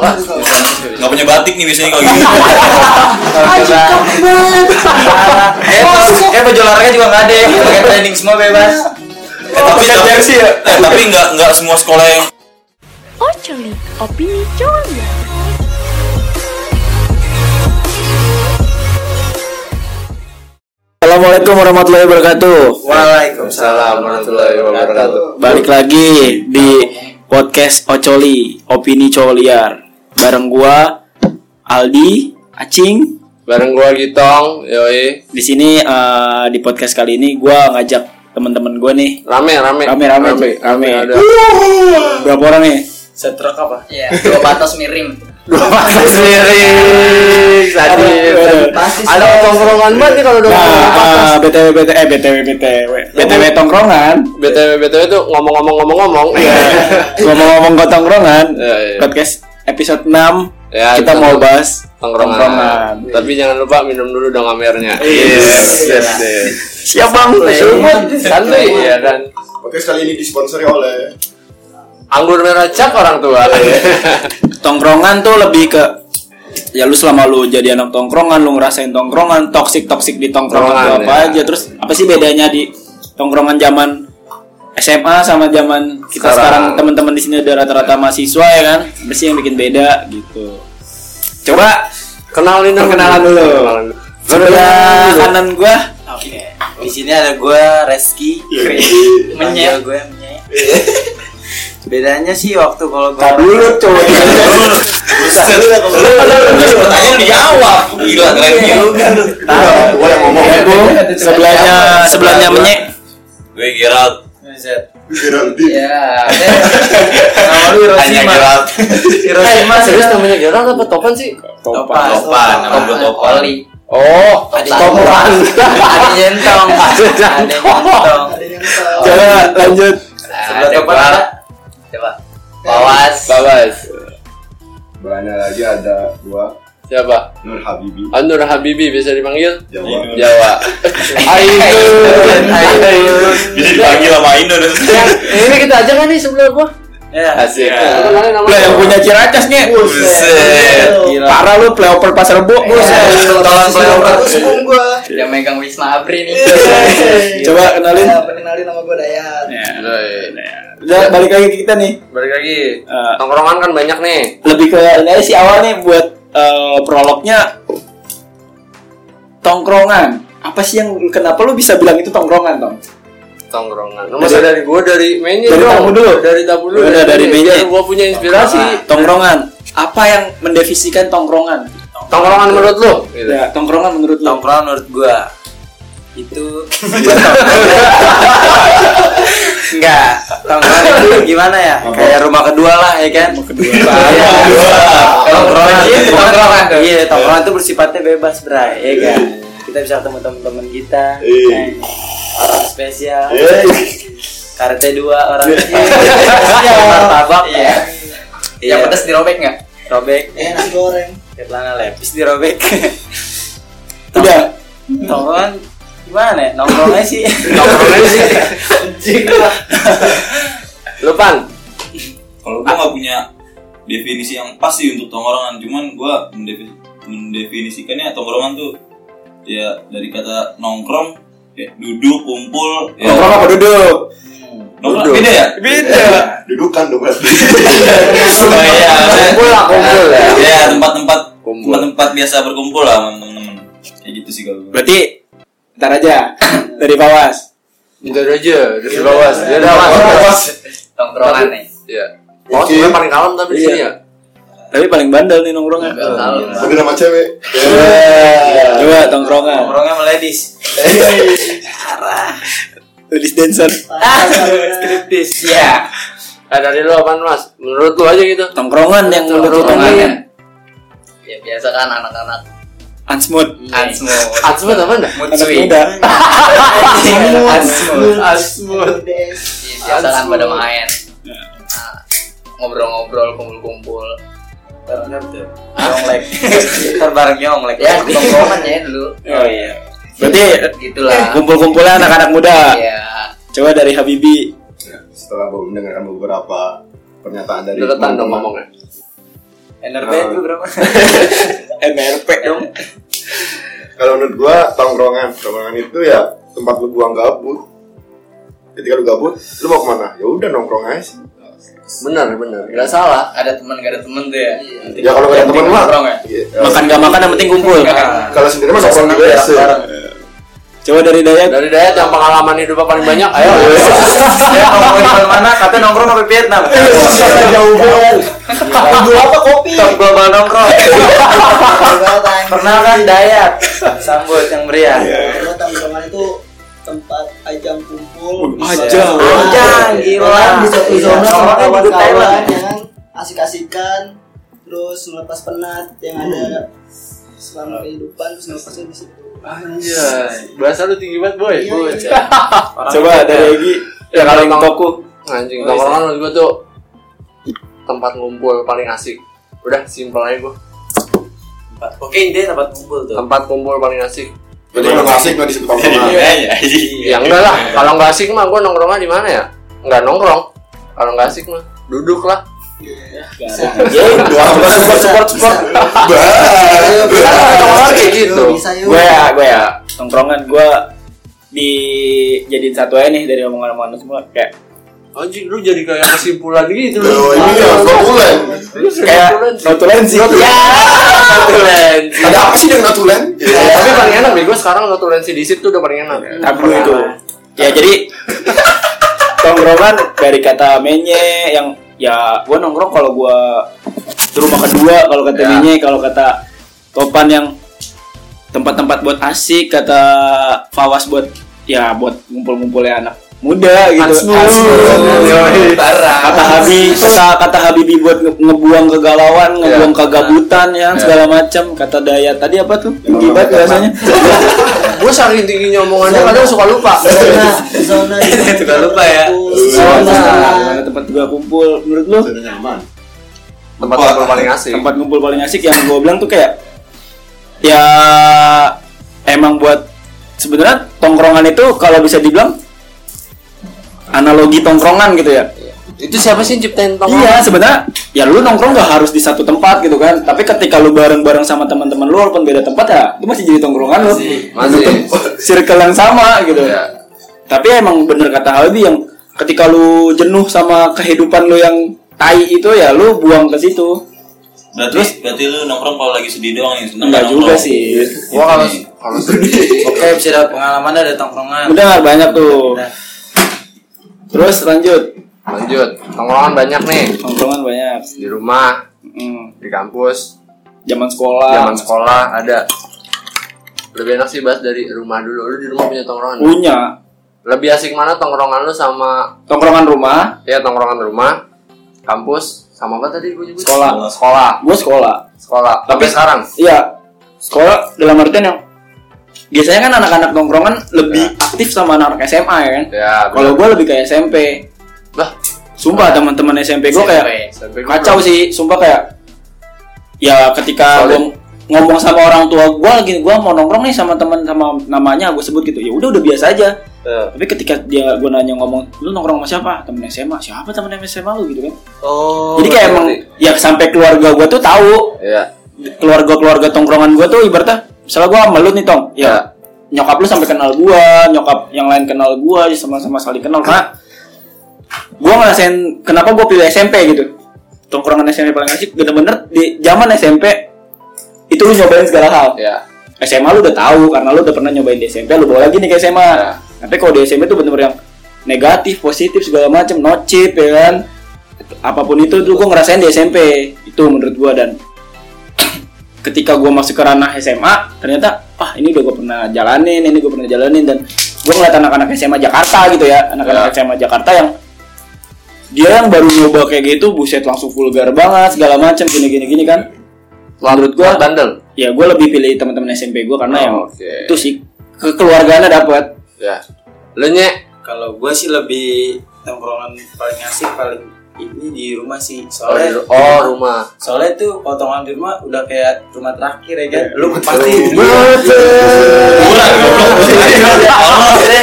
lah. Gak punya batik nih biasanya kalau gitu. gini. Anjing cakep banget. Eh, pas- eh baju olahraga juga nggak ada ya. Pakai training semua bebas. Oh. Eh, tapi bisa jersey ya? Eh, tapi nggak nggak semua sekolah yang Ocelot, opini Colia. Assalamualaikum warahmatullahi wabarakatuh. Waalaikumsalam warahmatullahi wabarakatuh. Balik lagi di podcast Ocoli, opini Coliar. Bareng gua Aldi, Acing. Bareng gua Gitong, yoi. Di sini eh, di podcast kali ini gua ngajak teman-teman gua nih. Rame, rame. Rame, rame, rame. cuy. Rame. ada. Berapa orang nih? Setrek apa? Iya, dua batas miring. Dua pakai miring. Sadis. Pasti Ada tongkrongan banget nih kalau udah Nah, ngomong patas. eh, BTW BTW eh, BTW BTW BTW tongkrongan. BTW BTW tuh ngomong-ngomong ngomong-ngomong. Ngomong-ngomong ke tongkrongan, Iya, iya. podcast episode 6 Ya, kita itu mau bahas Tongkrongan. Iya, Tapi jangan lupa minum dulu dong amernya. Yes, yes, yes. Siap Bang. Santuy ya kan. Podcast kali ini disponsori oleh Anggur merah cap orang tua. Iya. tongkrongan tuh lebih ke ya lu selama lu jadi anak tongkrongan lu ngerasain tongkrongan toksik toksik di tongkrongan tuh Tongkrongan, apa ya. aja terus apa sih bedanya di tongkrongan zaman SMA sama zaman kita Sekarang. sekarang, teman-teman di sini udah rata-rata mahasiswa ya kan apa sih yang bikin beda gitu coba Kenalin dong. Perkenalan dulu. Perkenalan dulu. sebelah kanan gua Oke. Di sini ada gue Reski. Iya. Menyet. gue Bedanya sih waktu kalau gue Iya, Terus pertanyaan dijawab. Gila keren gitu. Gue yang ngomong Eh, ya, Bu. sebelahnya sebelahnya menyek Gue Gerald. Geraldine Iya. Nama lu Hanya Hiroshima. Gerald. Hiroshima serius namanya Gerald apa Topan sih? Topan. Topan. Nama gue Topan. Oli. Oh, Topan. Ada jentong. Ada jentong. Ya, coba lanjut Sebelah Ada Topan gua. ada Coba. Bawas. Babas. Belanda lagi ada gua Siapa? Nur Habibi Anur Habibi bisa dipanggil Jawa Jawa. Ainun. Ainun. Bisa dipanggil sama Indo dan Yang ini kita aja kan nih sebelah gua. Ya. Asik. Ya. Kenalin nama Lah, yang gua. punya ciracas nih Buset. parah lu playoper pasar rebo Iya, Iya. buset. Tolong playoper. Yang megang Wisma Abri nih. coba kenalin Kenalin Iya, nama gue Dayat. iya. udah balik lagi ke kita nih Balik lagi. Eh, Tongkrongan kan banyak nih. lebih ke ini aja sih awal nih buat eh, prolognya tongkrongan apa sih yang kenapa lu bisa bilang itu tongkrongan tong Tongkrongan. Masa dari gua dari menu Dari dong. tamu dulu. Dari tamu dulu. Udah, dari menu. meja. Biar Gua punya inspirasi. tongkrongan apa yang mendefinisikan tongkrongan Tongkrongan menurut lu? Gitu. ya tongkrongan menurut lu Tongkrong Iya. menurut gue itu enggak tongkrongan itu gimana ya kayak rumah kedua lah ya kan rumah kedua tongkrongan Iya, tongkrongan tuh. iya tongkrongan itu bersifatnya bebas bray ya kan kita bisa ketemu teman-teman kita Iya. eh, orang spesial Eh, karete dua orang spesial martabak ya Yang pedas dirobek nggak? robek eh nasi goreng celana lepis dirobek udah tongkrongan gimana ya nongkrongnya sih Tongkrongan sih. Lu pan. Kalau gue nggak punya definisi yang pasti untuk tongkrongan, cuman gue mendefi- mendefinisikannya tongkrongan tuh ya dari kata nongkrong, ya, duduk, kumpul. Ya, tongkrong apa duduk Nongkrong beda ya? beda Dudukan dong berarti Iya, Kumpul lah, kumpul ya. ya tempat-tempat Kumpul. tempat-tempat biasa berkumpul lah sama temen-temen. Kayak gitu sih kalau gue. berarti ntar aja dari bawas Itu aja. Dari bawah. Dia udah Awas. Tongkrongan nih. Iya. Oh, Oke. sebenarnya paling kalem tapi di sini ya. tapi paling bandel nih tongkrongan Kalau Tapi nama cewek coba tongkrongan nongkrongnya meledis ladies dancer kritis Iya. Nah, dari lu apaan mas? Menurut lu aja gitu. tongkrongan yang menurut lu Tongkrongan ya. tongkrongan Ya biasa kan anak-anak Unsmooth Ansmo. Asmat apa enggak? anak Mutsui. muda Iya, biasa kan pada main Nah, ngobrol-ngobrol kumpul-kumpul Yonglek Ntar bareng Yonglek ya tongkrongan ya dulu Ya, oh iya berarti eh, gitulah Kumpul-kumpulnya anak-anak muda. ya Coba dari Habibi. Setelah gua mendengarkan beberapa pernyataan dari Deretan dong teman-teman, ngomongnya NRP Ah. itu berapa? MRP dong. Kalau menurut gua tongkrongan, tongkrongan itu ya tempat lu buang gabut. Ketika lu gabut, lu mau kemana? Ya udah nongkrong aja sih. Benar, benar. Gak salah, ada teman gak ada teman tuh ya. Ya Iya. kalau gak ada teman mah, nongkrong ya. iya. Makan gak makan yang penting kumpul. Kalau sendiri mah nongkrong juga ya. sih. Coba dari Dayat. Dari Dayat yang pengalaman hidupnya paling banyak, ayo. Iya. Saya mau ke mana? Katanya nongkrong sampai Vietnam. Iya. Jauh banget. Top global nongkrong. Perkenalkan Dayat. Sambut yang meriah. Iya. Iya. Karena tongkrongan itu tempat ajang kumpul bisa- Ajang. Ajang, gila. Orang di suatu Iya. zona sama Nongkrongnya di kawan-kawan Thailand. Iya. yang kan? asik-asikan terus melepas penat yang Hmm. ada selama kehidupan terus melepasnya di situ Anjay. Bahasa lu tinggi banget, boy. Iya, Coba dari Egi. Ya, Ya kalau kalau toku. Anjing, tongkrongan menurut gua tuh tempat ngumpul paling asik. Udah, simpel aja gua. Oke, intinya tempat kumpul tuh. Tempat kumpul paling asik. Jadi kalau nggak asik nggak di situ tongkrongan. Iya. Ya enggak lah, kalau nggak asik mah gua nongkrongnya di mana ya? Enggak nongkrong. Kalau nggak asik mah duduk lah. Doang Support, Iya, support, support, support. Karena tongkrongan Kan kayak gitu. Bisa yuk. Gue ya, gue ya. Tongkrongan gue di jadiin satu aja nih dari omongan-omongan lu semua kayak Anjing, lu jadi kayak kesimpulan gitu lu. Loh, ini ya, notulen. Lu kayak kesimpulan sih. notulensi. Ya. Notulensi. Ada apa sih dengan notulen? Tapi paling enak bego sekarang notulensi di situ udah paling enak. Tabu itu. Ya jadi tongkrongan dari kata menye yang ya gue nongkrong kalau gue di rumah kedua kalau kata Ya. menye kalau kata topan yang tempat-tempat buat asik kata fawas buat ya buat ngumpul-ngumpul ya anak muda gitu. Asmur. kata Habi kata kata Habibi buat nge- ngebuang kegalauan ngebuang kegabutan ya segala macam kata Daya tadi apa tuh tinggi banget rasanya Gue saking tinggi nyomongannya kadang suka lupa. Iya. zona Iya, zona Suka lupa ya. zona Gimana Iya, tempat gua kumpul menurut lu nyaman. Tempat kumpul paling asik. tempat ngumpul paling asik yang gua bilang tuh kayak ya emang buat sebenarnya tongkrongan itu kalau bisa dibilang analogi tongkrongan gitu ya Itu siapa sih yang ciptain tongkrongan? Iya sebenarnya ya lu nongkrong gak harus di satu tempat gitu kan tapi ketika lu bareng bareng sama teman-teman lu walaupun beda tempat ya itu masih jadi tongkrongan lu Iya. Masih. circle yang sama gitu Iya. tapi emang bener kata Aldi yang ketika lu jenuh sama kehidupan lu yang tai itu ya lu buang ke situ Berarti, berarti lu nongkrong kalau lagi sedih doang nih, seneng enggak nggak juga nongkrong? sih Gua kalau Ini. kalau sedih Oke, bisa dapat pengalaman dari tongkrongan. benar banyak tuh terus lanjut lanjut. Tongkrongan banyak nih nongkrongan banyak di rumah, Mm, di kampus, zaman sekolah zaman sekolah ada. Lebih enak sih bahas dari rumah dulu. Lu di rumah punya tongkrongan. nggak? punya Lebih asik mana tongkrongan lu sama tongkrongan rumah ya tongkrongan rumah, kampus, sama apa tadi gue nyebut? Sekolah. Sekolah. gue sekolah Sekolah. Tapi Tapi- sekarang Iya, sekolah dalam artian yang biasanya kan anak-anak nongkrongan lebih aktif sama anak-anak SMA ya kan. ya Kalau gue lebih kayak SMP. Lah. Sumpah teman-teman SMP gue kayak sampai gua kacau sih, sumpah kayak ya ketika Solid. gue ngomong sama orang tua gue lagi gue mau nongkrong nih sama teman sama namanya gue sebut gitu ya udah udah biasa aja Eh. tapi ketika dia gue nanya ngomong lu nongkrong sama siapa temen SMA siapa temen SMA lu gitu kan Oh. jadi kayak emang ya sampai keluarga gue tuh tahu Iya. keluarga-keluarga tongkrongan gue tuh ibaratnya misalnya gue sama lu nih tong ya nyokap lu sampai kenal gue nyokap yang lain kenal gue sama-sama saling kenal karena gue ngerasain kenapa gue pilih SMP gitu tongkrongan SMP paling asik bener-bener di zaman SMP itu lu nyobain segala hal Iya. SMA lu udah tahu karena lu udah pernah nyobain di SMP lu bawa lagi nih ke SMA tapi kalau di SMP tuh bener-bener yang negatif positif segala macam no chip ya kan apapun itu tuh gue ngerasain di SMP itu menurut gue dan ketika gue masuk ke ranah SMA ternyata ah ini udah gue pernah jalanin ini gue pernah jalanin dan gue ngeliat anak-anak SMA Jakarta gitu ya anak-anak SMA Jakarta yang dia yang baru nyoba kayak gitu buset langsung vulgar banget segala macam gini gini gini kan menurut gue bandel. ya gue lebih pilih teman-teman SMP gue karena yang Oh, Oke. itu sih kekeluargaannya dapat Ya. Lu nye Kalau gue sih lebih tongkrongan paling asik paling ini di rumah sih Oh, di soalnya ru- oh, rumah. soalnya tuh potongan di rumah udah kayak rumah terakhir ya Iya. kan lu pasti Kuburan, goblok.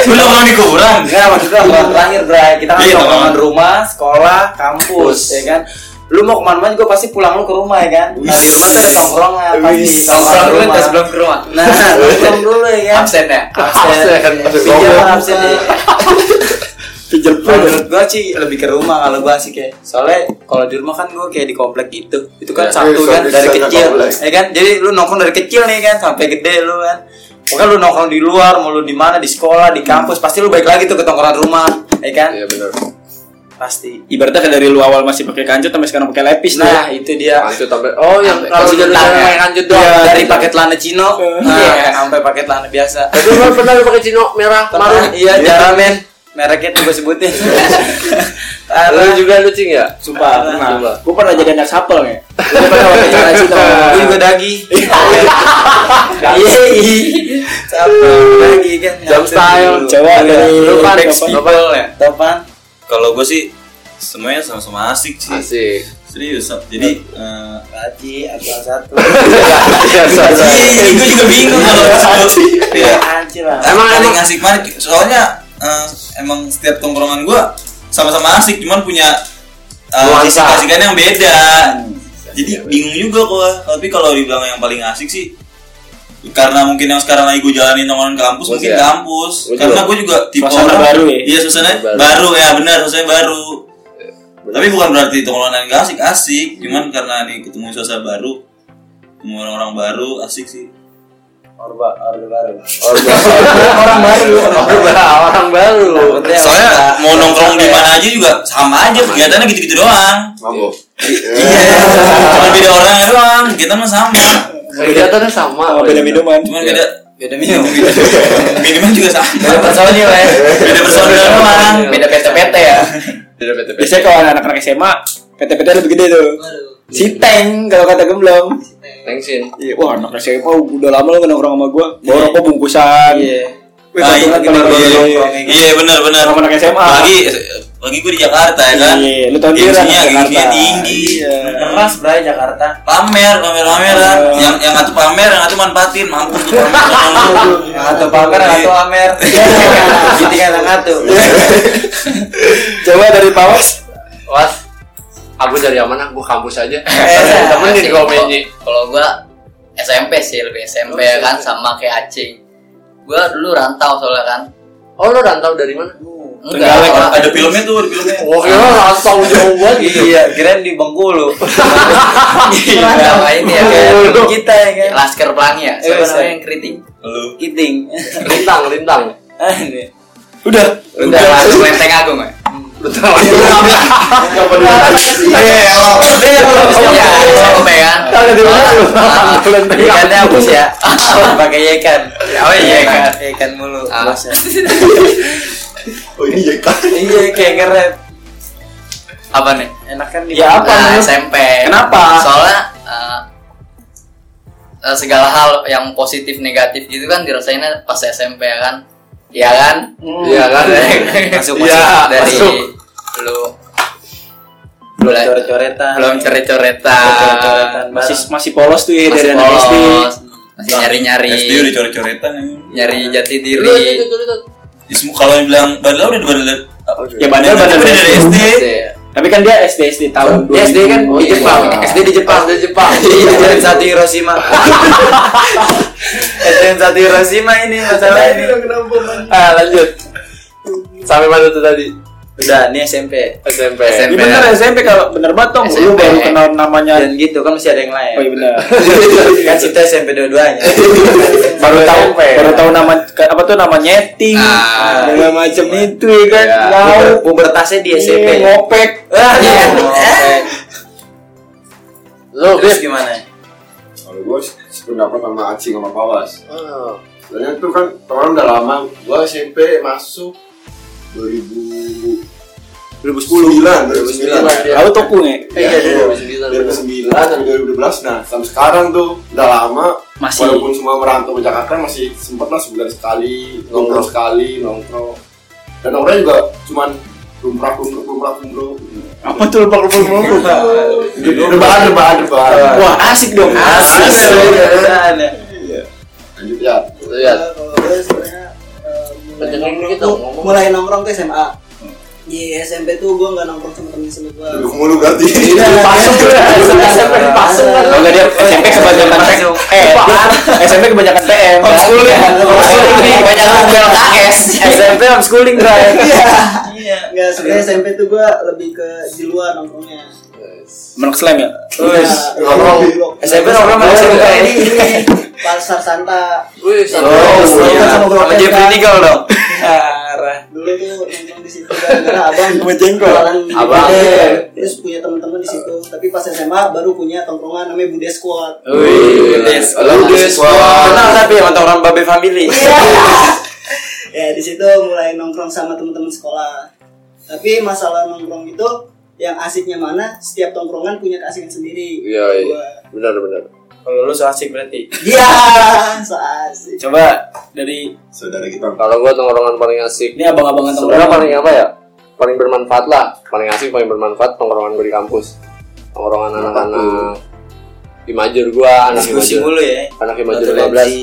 Belum orang di kuburan. Enggak maksudnya rumah terakhir Bray Kita kan Iya, tongkrongan tongkrongan. rumah, sekolah, kampus ya kan lu mau kemana-mana juga pasti pulang lu ke rumah ya kan nah di rumah tuh ada tongkrongan pasti Wih. tongkrongan Tongkrong dulu rumah. tes belum Iya. ke rumah. nah nongkrong dulu ya kan Absen ya. absen Absen. pinjam absen ya Pijer Kalau menurut gua sih lebih ke rumah kalau gua sih kayak soalnya kalau di rumah kan gua kayak di komplek gitu itu Ya, kan satu iya, kan soalnya dari di sana kecil komplek. ya kan jadi lu nongkrong dari kecil nih kan sampai gede lu kan Pokoknya lu nongkrong di luar, mau lu di mana, di sekolah, di kampus, pasti lu balik lagi tuh ke tongkrongan rumah, ya kan? Iya benar. Pasti. Ibaratnya kayak dari lu awal masih pakai kancut sampai sekarang pakai lepis Nah, itu dia. Lanjut sampai oh yang Sampai kalau kasih jadi kentang, main ya. lanjut doang. Iya, dari pakai celana chino, Iya. nah, sampai pakai celana biasa. Tapi lu pernah lu pakai cino merah marun. Kemarin iya jarang men. Mereknya tuh gua sebutin. Lu Parah. juga lu cing ya? Sumpah, pernah. Sumpah. Gue pernah jadi anak sapel ya. Lu pernah pakai celana chino? Ini gua dagi. Iya. Siapa dagi kan? Jump style. Coba dari Lu kan Backstreet ya. Topan. Kalau gue sih semuanya sama-sama asik sih. Asik. Serius, Sab. jadi eh, Raji, Abdul satu. Biasa aja. Iya, gue juga bingung kalau disebut. Iya. Ya, Anjir lah. Emang Paling emang asik banget. Soalnya eh, emang setiap tongkrongan gue sama-sama asik, cuman punya uh, Nuansa. Hmm. kasihkan yang beda. Jadi bingung juga gue. Tapi kalau dibilang yang paling asik sih karena mungkin yang sekarang lagi gue jalanin tongkrongan kampus Gua mungkin sih ya. kampus Gua juga. karena gue juga tipe Suasana orang baru ya? iya suasana Baru. baru. ya benar suasana baru tapi bukan berarti tongkrongan yang gak asik asik cuman karena nih ketemu suasana baru ketemu orang-orang baru asik sih Orba, Orba baru. orang baru. Orang baru. Ya, soalnya mau nongkrong di mana aja juga sama aja kegiatannya gitu-gitu doang mabok iya cuma beda orang doang kita mah sama Kegiatannya sama. Sama beda minuman. cuma beda Iya, Beda minum. minimal juga sama Nah, Beda personil ya. beda personil doang Beda PT-PT ya. Beda beda beda. Biasanya kalau anak-anak SMA, PT-PT lebih gede tuh. Waduh, Si Teng kalau kata gemblong. Thanksin. Iya, wah anak SMA udah lama lu nggak nongkrong sama gue. Bawa rokok bungkusan. Nah, kan Iya. Wih, Ah, iya, kebetulan kalau iya, lagi iya. nongkrong. Iya benar benar. Sama anak SMA. Lagi lagi gue di Jakarta ya kan. Iya, lu tahu sendiri Gengsinya anak gengsinya Jakarta. tinggi. Iya. Keras bray Jakarta. Pamer, pamer, pameran. Iya. Yang yang satu pamer, yang satu manfaatin, mampus tuh pamer. Atau Iya. pamer atau amer. Gitu kan ngatu. Iya. Coba dari Pawas. Was. Aku dari mana? Aku kampus aja. Eh, Temen di komennya. Kalau gua SMP sih lebih Oh, SMP iya, ya kan sama kayak Acing. Gua dulu rantau soalnya kan. Oh lu rantau dari mana? Tenggalek, orang- ada filmnya tuh, ada filmnya. Oh kira rantau jauh banget. Iya, keren di Bengkulu. Rantau aja Iya, ini ya kayak Kayak gitu. kita ya kan. Lasker Pelangi ya. Siapa Eh, namanya saya. yang keriting? Lu Kiting. Lintang lintang. Ah, ini. Udah. Udah langsung lenteng agung Iya, ya. Lintang lintang. Oh, Iya, SMP kan. Iya. Ah, Ikannya hapus ya. Pakai ikan. Oh iya kan. Ikan mulu. Ah. Bosnya. oh ini ya kan Iya, kayak keren. Apa nih? Enak kan di Ya, apa? Lu? Nah, SMP. Kenapa? Soalnya eh, eh, segala hal yang positif negatif gitu kan dirasainnya pas SMP ya kan. Iya kan? Iya kan? masuk masuk Iya, dari masuk. lu Belum Mulai- coret-coretan. belum coret-coretan. coret-coretan. Masih masih polos tuh ya Masih dari anak SD. polos, Masih nyari-nyari SD udah coret-coretan. ya. nyari jati Lu diri. itu itu Di semua- Kalau yang bilang bandel udah bandel. Ya bandel Tapi bandel udah dari SD. Iya. Tapi kan dia SD SD tahun Dia SD kan 2000. di Iya. Jepang. SD di Jepang. Iya. Di Jepang. Iya, Ejden satu Hiroshima. Ejden satu Hiroshima ini masalah ini. Ah lanjut. Sampai mana tuh tadi? Udah, ini SMP. SMP. Ini SMP. bener SMP kalau bener banget dong. Lu SMP. baru kenal namanya. Dan gitu kan masih ada yang lain. Oh iya bener. Kan kita SMP dua-duanya. baru tahu SMP. baru tahu nama apa tuh nama nyeting Ah, segala macam itu ya kan Iya. tahu Puber- Pubertasnya di SMP. Iya, ngopek Wah, Oh, iya. Eh, Lu Terus bis. gimana? kalau gue sependapat sama Acing sama Pawas Soalnya tuh kan teman udah lama. Gua SMP masuk 2000 2010 Iya. 2009 2009 tahu toko ya Iya, 2009 sampai 2012 nah sampai sekarang tuh udah lama Masih. walaupun semua merantau ke Jakarta masih sempet lah sebulan sekali nongkrong sekali nongkrong dan nongkrong juga cuman lumrah lumrah lumrah lumrah apa tuh lupa lupa lupa lupa rebahan rebahan rebahan wah asik dong Asik. Perasaan ya. lanjut ya Lihat. kalau gue sebenarnya eh, mulai Kencengin dikit nongkrong dong, tuh- ngomong. mulai nongkrong tuh SMA di SMP tuh gue nggak nongkrong sama temen SMP gue Duduk mulu berarti. Iya, iya. Pasung SMP pasung kan. Kalau nggak dia Oh, iya, SMP kebanyakan P- eh dia SMP kebanyakan PM. kan? Iya. Kebanyakan "Ah, PLKS. SMP homeschooling kan. Iya. nggak sebenarnya SMP tuh gue lebih ke di luar nongkrongnya Iya, Menok slam ya. Terus Nongkrong. SMP nongkrong sama SMP ini. pasar Santa Oh, iya. sama Bro Sama Teta. Jeffrey Nicole dong. Arah. dulu tuh nongkrong di situ karena abang Sama jengkol. jualan di Abang. Bude. terus punya teman-teman di situ tapi pas SMA baru punya tongkrongan namanya Bude Squad Wih, Yes. lu dis. Kenal tapi sama orang Babe Family. ya di situ mulai nongkrong sama teman-teman sekolah tapi masalah nongkrong itu yang asiknya mana setiap tongkrongan punya keasikan sendiri Iya, iya. Gua, Benar benar. Kalau lu so asik berarti. iya so asik Coba dari Saudara kita. Kalau gua tongkrongan paling asik. ini abang-abangan Sebenarnya tongkrongan. paling apa ya? Paling bermanfaat lah. Paling asik, paling bermanfaat tongkrongan gua di kampus. Tongkrongan anak-anak Imajur gua, anak Diskusi Imajur. mulu ya. Anak Imajur 15. Toleransi.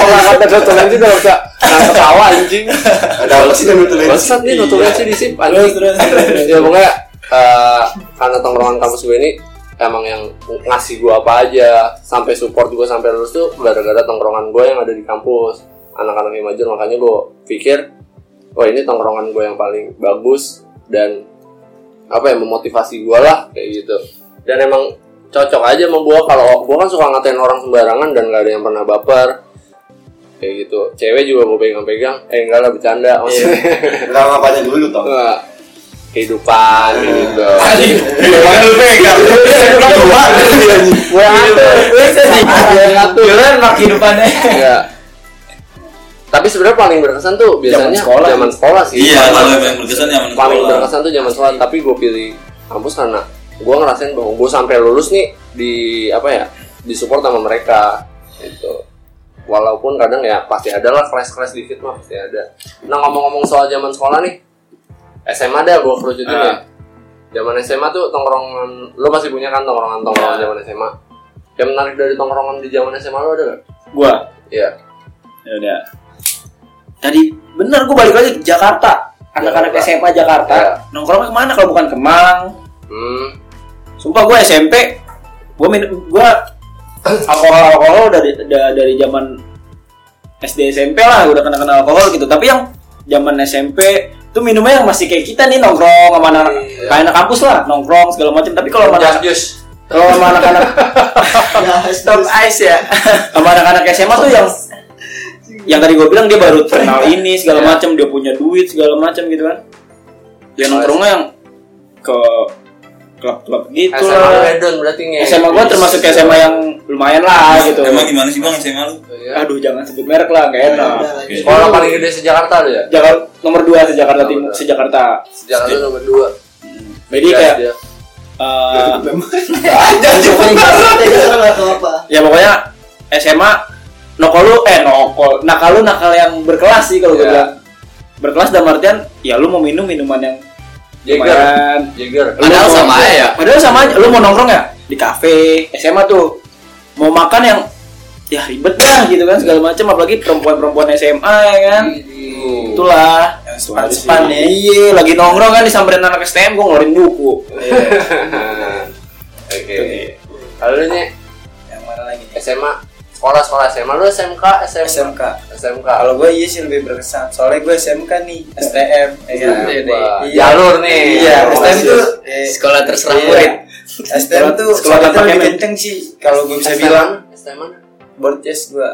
Orang kata dotolensi udah bisa nah, ketawa anjing. Ada apa sih dengan tulen? Bangsat iya. nih dotolensi di sip anjing. terus, terus. Ya pokoknya eh, karena tongkrongan kampus gue ini emang yang ngasih gue apa aja sampai support gue sampai lulus tuh gara-gara tongkrongan gue yang ada di kampus anak-anak imajur makanya gue pikir wah ini tongkrongan gue yang paling bagus dan apa ya memotivasi gue lah kayak gitu dan emang cocok aja sama gue kalau gue kan suka ngatain orang sembarangan dan gak ada yang pernah baper kayak gitu cewek juga gue pegang-pegang eh enggak lah bercanda maksudnya Iya. Enggak ngapain dulu toh. Enggak. kehidupan kayak gitu Iya, Makanya lu Iya, pegang. gue iya, ngatur gue ngatur Keren mak Iya, kehidupannya. Enggak. tapi sebenarnya paling berkesan tuh biasanya zaman sekolah, sih Paling- Iya, kalau yang berkesan yang paling sekolah. berkesan tuh zaman sekolah tapi gue pilih kampus karena gue ngerasain bahwa gue sampai lulus nih di apa ya disupport sama mereka gitu walaupun kadang ya pasti ada lah crash crash dikit mah pasti ada nah ngomong-ngomong soal zaman sekolah nih SMA dah gue kerucutin Ah. ya zaman SMA tuh tongkrongan lo pasti punya kan tongkrongan tongkrongan Iya. zaman SMA yang menarik dari tongkrongan di zaman SMA lo ada gak? Gua. Iya. Ya udah. Tadi bener gua balik lagi ke Jakarta. Anak-anak Jakarta. SMA Jakarta. Iya. Nongkrongnya kemana kalau bukan ke Malang? Hmm. Sumpah gue SMP, gue minum gue alkohol alkohol dari da- dari zaman SD SMP lah udah kena kenal alkohol gitu. Tapi yang zaman SMP tuh minumnya yang masih kayak kita nih nongkrong sama anak Iya. kayak anak kampus lah nongkrong segala macam. Tapi kalau sama anak- jus. kalau sama anak-anak ya Stop ice ya. sama anak-anak SMA tuh yang yang tadi gue bilang dia baru kenal ini segala Iya. macam dia punya duit segala macam gitu kan. Dia nongkrongnya yang ke klub-klub gitu SMA lah. Redon berarti nge. SMA gua termasuk SMA yang lumayan lah gitu. Emang gimana sih bang SMA lu? Iya. Aduh jangan sebut merek lah, gak enak. Sekolah paling gede se-Jakarta lo ya? Jakarta nomor 2 se Jakarta Nomor Timur, dua. se Jakarta. Se-Jakarta nomor Iya, 2 Jadi Iya. kayak eh, kita nggak tahu apa ya pokoknya SMA nokol lu eh nokol nakal lu nakal yang berkelas sih kalau gue Ya. Iya. bilang berkelas dalam artian ya lu mau minum minuman yang Ya Jager kan. lumayan Jager Lu Padahal mau- sama aja ya. padahal sama aja lu mau nongkrong ya di kafe SMA tuh mau makan yang ya ribet dah gitu kan segala macam apalagi perempuan-perempuan SMA ya kan itulah Span Hmm. ya. Iya, lagi nongkrong kan disamperin anak STM gua ngeluarin buku. Oke Lalu lu nih Yang mana lagi? SMA Sekolah-sekolah SMA Lu SMK SMK SMK. SMK Kalau gue iya sih lebih berkesan. Soalnya gue SMK nih, STM. ya kan? Wah, Iya, deh. Jalur nih Iya, STM tuh eh, Sekolah terserah Iya. murid. STM tuh Eh, Sekolah sekolah tanpa lebih kemen. kenceng sih kalau gue bisa STM bilang STM mana? board chess gue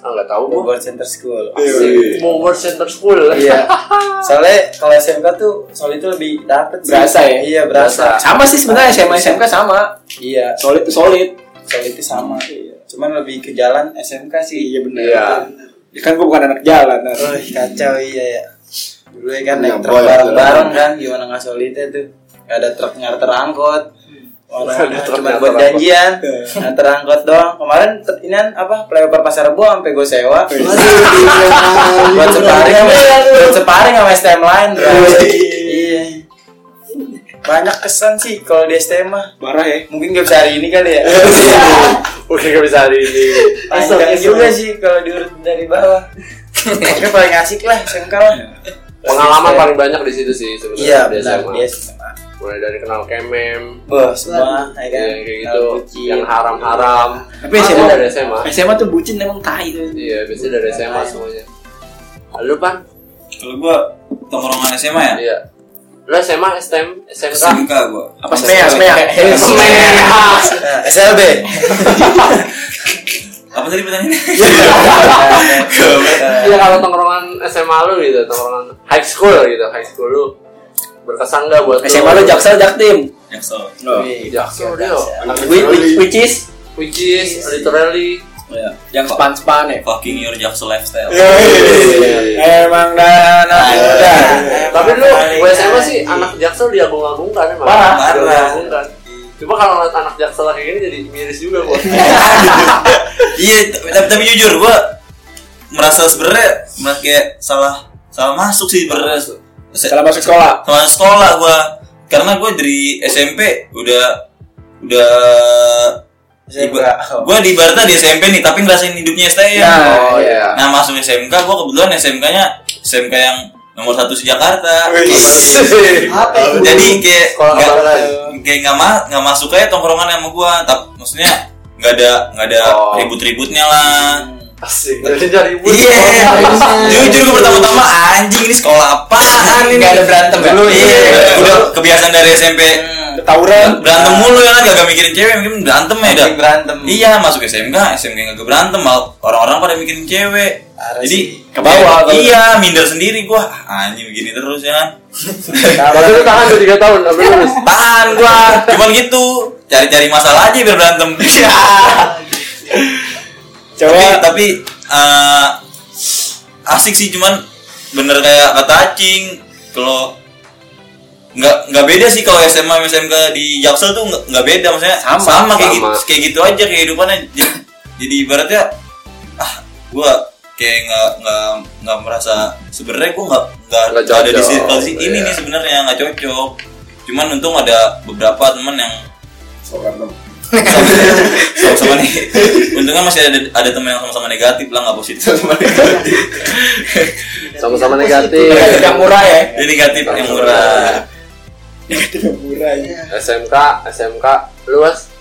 Ah nggak tahu gua Bogor Center School. Bogor Center School Iya. Soalnya kalau SMK tuh soal itu lebih dapet sih. Berasa ya? Iya, berasa. Sama sih sebenarnya SMA SMK sama. Iya, Solid tuh solid. soal itu sama. Cuman lebih ke jalan SMK sih. Iya benar. Iya Ya kan gua bukan anak jalan. kan. Oh, kacau iya ya. Dulu ya kan Iya, naik truk boy, bareng-bareng kan gimana nggak solidnya tuh. Gak ada truk ngarter angkot. Orang Ada truk cuma ngarter buat angkot. janjian, ngarter angkot doang. Kemarin ter- ini kan apa flyover pasar Rebo sampai gue sewa. buat separing sama Iya. buat separing sama STM lain. bro. Iya. Banyak kesan sih kalau di STM mah. Parah ya. Iya. Mungkin gak bisa hari ini kali ya. Oke nggak bisa hari ini Iya. Panjang juga sih kalau diurut dari bawah. Oke paling asik lah SMK lah. Pengalaman paling banyak di situ sih sebenarnya Iya di benar SMA. dia SMA. Mulai dari kenal kemem, Wah semua Iya ya kan. yang kayak gitu, Kalau kucing. yang haram-haram. Tapi Ada SMA dari SMA. SMA tuh bucin emang tai tuh. Iya, biasanya dari SMA semuanya. Lalu pan? Kalau gua tongkrongan SMA ya. Iya. Lu SMA, STM, SMK? SMK gua. Apa SMA? SMA. Nah, SLB. Apa tadi pertanyaannya? Iya kalau tongkrongan SMA lu gitu, tongkrongan high school gitu, high school lu berkesan gak buat SMA lu Jaksel Jaktim. Jaksel. Jaksel dia, Anak Which, which- kecuali which is which is literally yang span-span ya. Oh, Fucking your Jaksel lifestyle. iya. Emang dah anak muda. Tapi lu gue SMA sih anak Jaksel diagung-agungkan emang. Parah. Diagung-agungkan. Cuma kalau ngeliat anak Jaksel kayak gini jadi miris juga gua. Iya, tapi, tapi, tapi jujur gua merasa sebenarnya merasa kayak salah salah masuk sih sebenarnya. Setelah masuk sekolah. Sama sekolah gua karena gua dari SMP udah udah SMK. gue di Barta di SMP nih tapi ngerasain hidupnya STM Nah, Oh iya. ya. nah masuk SMK gue kebetulan SMK-nya SMK yang nomor satu se Jakarta Apa itu? jadi kayak Sekolah nggak- kebaran. kayak nggak ma- nggak masuk aja tongkrongan sama gue tapi maksudnya nggak ada nggak ada Oh. ribut-ributnya lah Asik. Jadi dari ibu. Iya, jujur gue pertama-tama anjing ini sekolah apaan ini? Nggak ada berantem ya? Dulu iya, Iya. udah kebiasaan dari SMP Tawuran. berantem mulu ya kan gak mikirin cewek, mungkin berantem ya dah. Anjing berantem. Iya, masuk SMK, SMK gak berantem, malah orang-orang pada mikirin cewek. Parah Jadi sih. Ke bawah, kalau- Iya, minder sendiri gua. Ah, Anjing begini terus ya kan. Tapi Nah, lu tahan tuh 3 tahun, tapi lulus. Tahan gua, cuman gitu. Cari-cari masalah aja biar berantem. Iya. tapi Coba tapi eh, asik sih cuman bener kayak kata acing kalau nggak nggak beda sih kalau SMA sama SMK di Jaksel tuh nggak nggak beda maksudnya Sama, sama. kayak gitu kayak gitu aja kehidupannya jadi, jadi ibaratnya ah gua kayak nggak nggak nggak merasa sebenarnya gua nggak nggak Nggak nggak ada di cocok, circle gitu sih ini ya. iya. nih sebenarnya nggak cocok cuman untung ada beberapa teman yang seorang teman. sama-sama nih untungnya masih ada ada teman yang sama-sama negatif lah nggak positif sama Sama-sama negatif. negatif yang murah ya. Dia negatif yang murah. ya. SMK, SMK, luas.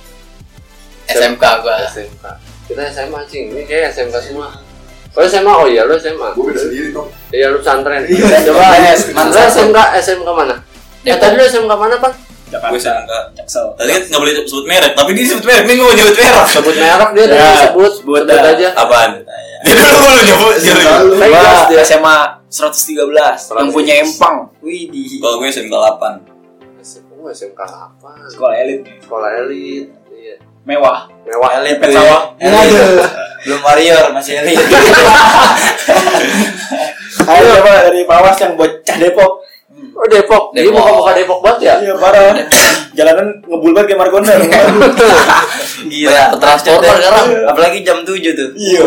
SMK gua SMK. Kita SMA cing, ini kayak SMK semua. Oh SMA, oh iya lu SMA. Gue beda sendiri dong. Iya lu pesantren. Coba Iya, mana lu SMK, SMK mana? Eh tadi lu SMK mana pak? Gue sangka. Tadi kan nggak boleh sebut merek, tapi dia sebut merek. Nih gue mau nyebut merek. Sebut merek dia tadi Ya, sebut, sebut sebut dah. aja. Apaan? Dia dulu mulu nyebut. Dia dulu nyebut. Lalu Vegas Gua dia. SMA 113 yang punya empang. Wih di Kalau gue SMK 8 Oh, SMK apa? sekolah elit Sekolah elit. Iya. mewah. Mewah. Elit Pet tuh ya. sawah. Elit. Belum warrior masih elit. Ayo coba dari Pawas yang bocah Depok. Oh Depok, jadi Depok. muka-muka Depok banget ya? Iya parah. Jalanan ngebul banget kayak Margonda. Gila. Banyak transporter sekarang. Apalagi jam 7 tuh. Iya.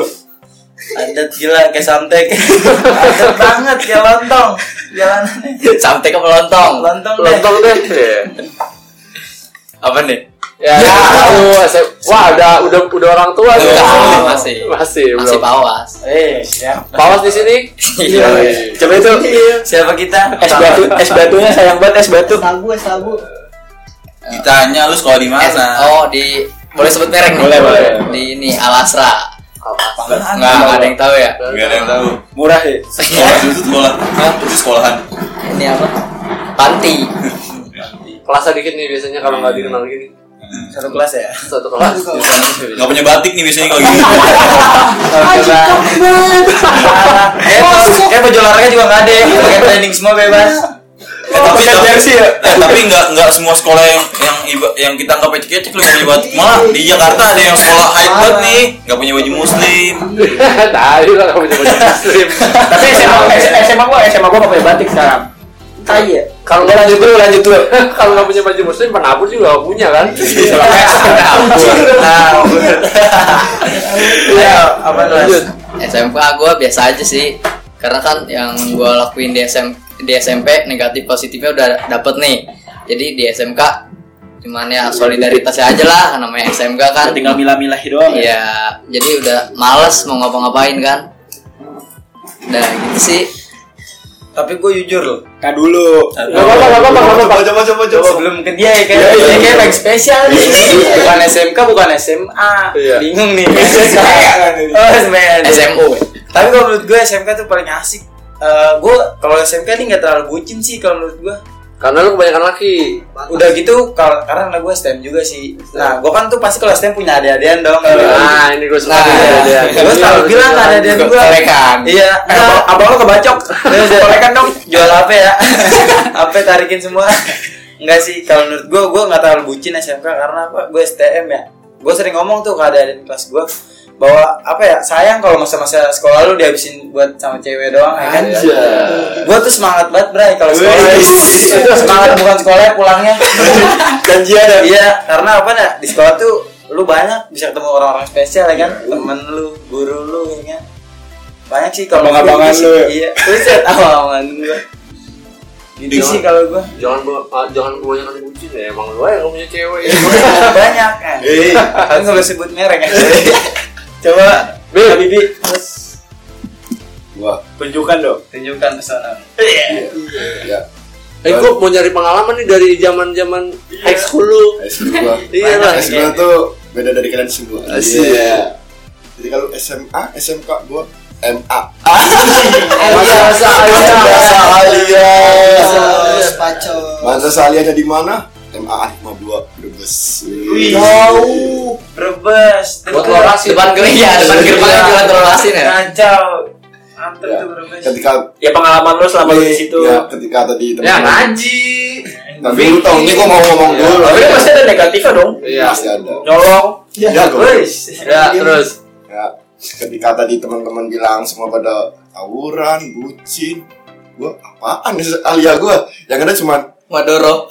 Adat gila kayak santek. Adat banget kayak lontong. Jalanannya. Sampai ke melontong. Lontong deh. Lontong deh. Iya. Apa nih? Ya, aduh, SM wah ada udah udah orang tua tuh. Enggak, Ya, masih. Masih, belum. Masih pawas. Eh, siapa? Pawas di sini. Iya. Coba itu Siapa kita? es batu es batunya sayang banget es batu. Sabu, eh, sabu. Ditanya lu sekolah di S- mana? Oh di boleh sebut merek nih. Boleh, boleh. Ah, Di ini Alasra. Apaan? Enggak enggak ada yang tahu ya. Gak ada yang tahu. Murah ya. Sekolah itu sekolah. Hah? Itu sekolahan. Ini apa? Panti. Kelasnya dikit nih biasanya kalau nggak dikenal gini. Satu kelas ya? Satu kelas. Gak punya batik nih biasanya kalau gitu. gini. Ah, Eh, Oh, baju- eh baju olahraga juga nggak ada ya. Pakai training semua bebas. Eh, tapi Punya jersey ya? Eh, tapi nggak nggak semua sekolah yang yang iba- yang kita anggap ecek-ecek lu nggak punya batik. Malah di Jakarta ada yang sekolah hype banget nih, nggak punya baju muslim. Tadi lah kamu nyebut muslim. Tapi SMA ya? SMA gua SMA gua gak punya batik sekarang. Tai ya. Kalau nggak lanjut dulu, lanjut dulu. Kalau nggak punya baju muslim, penabur juga nggak punya kan? Eh, iya, Ayo, apa Lanjut. kelas? SMK gue ah, biasa aja sih karena kan yang gue lakuin di SM di SMP negatif positifnya udah dapet nih jadi di SMK cuman ya solidaritasnya aja lah namanya SMK kan Ah, Tinggal milah-milah doang. ya. ya jadi udah males mau ngapa-ngapain kan nah gitu sih Tapi gue jujur loh. Kak dulu. Gak apa-apa, gak apa-apa, gak apa-apa. coba coba coba Sebelum ke dia ya kayak Iya, iya, dia kayak iya. baik spesial nih. Bukan SMK, bukan SMA. Iya. Bingung nih. Oh, SBN. SMU Tapi kalau menurut gue SMK tuh paling asik. Eh, gue kalau SMK nih nggak terlalu bucin sih kalau menurut gue. Karena lu kebanyakan laki. Udah gitu kal- karena anak gue STEM juga sih. Nah, gue kan tuh pasti kalau STEM punya adik-adian dong. Nah, ini gue suka nih, ada-ada. Gue selalu Iya, bilang adik-adian gue. Kolekan. Iya. Nah, Iya, abang lo kebacok. Kolekan dong. Jual HP ya. HP tarikin semua. Enggak sih, kalau menurut gue, gue nggak terlalu bucin SMK karena apa? Gue STM ya. Gue sering ngomong tuh ke adik-adik kelas gue bahwa apa ya sayang kalau masa-masa sekolah lu dihabisin buat sama cewek doang ya kan gue tuh semangat banget bray kalau sekolah itu semangat bukan sekolah pulangnya janjian ya iya karena apa nah di sekolah tuh lu banyak bisa ketemu orang-orang spesial ya kan temen lu guru lu ya kan banyak sih kalau gua Abang-abangan gitu lu sih. ya? iya lu sih abang-abangan gue gitu Jangan. sih kalau gue Jangan bu- ah, jangan kebanyakan bucin ya, emang lu aja yang punya cewek. ya. banyak kan kan nggak boleh sebut merek ya coba Bil. Bibi terus Wah, Tunjukkan dong. tunjukkan pesona ya. Eh, gue mau nyari pengalaman nih dari zaman zaman high school lu. S2 gua. Iya lah. S2 Nah, tuh beda dari kalian semua. Asik. Iya. Jadi kalau SMA, SMK gua MA. Iya, Biasa aja. Masa Alia. Terus pacol. Masa Alia ada di mana? MA Arifma 2 Brebes. Wih. Jauh. Brebes. Buat lorasi. depan gerbang Iya. ya depan gerbangnya jualan telur asin ya Kacau. Mantep Iya. Ya, tuh Brebes. ketika Ya pengalaman lu selama lu di situ. ya, ketika tadi ya kan? teman ngaji tapi lu tau ini gua mau ngomong Iya. Oh, dulu Tapi ya. pasti ada negatifnya dong. Iya. pasti ada Nyolong. ya gua Wes. Ya, terus. ya ketika tadi teman-teman bilang semua pada tawuran bucin gua apaan nih Alia gua yang ada cuma Madoro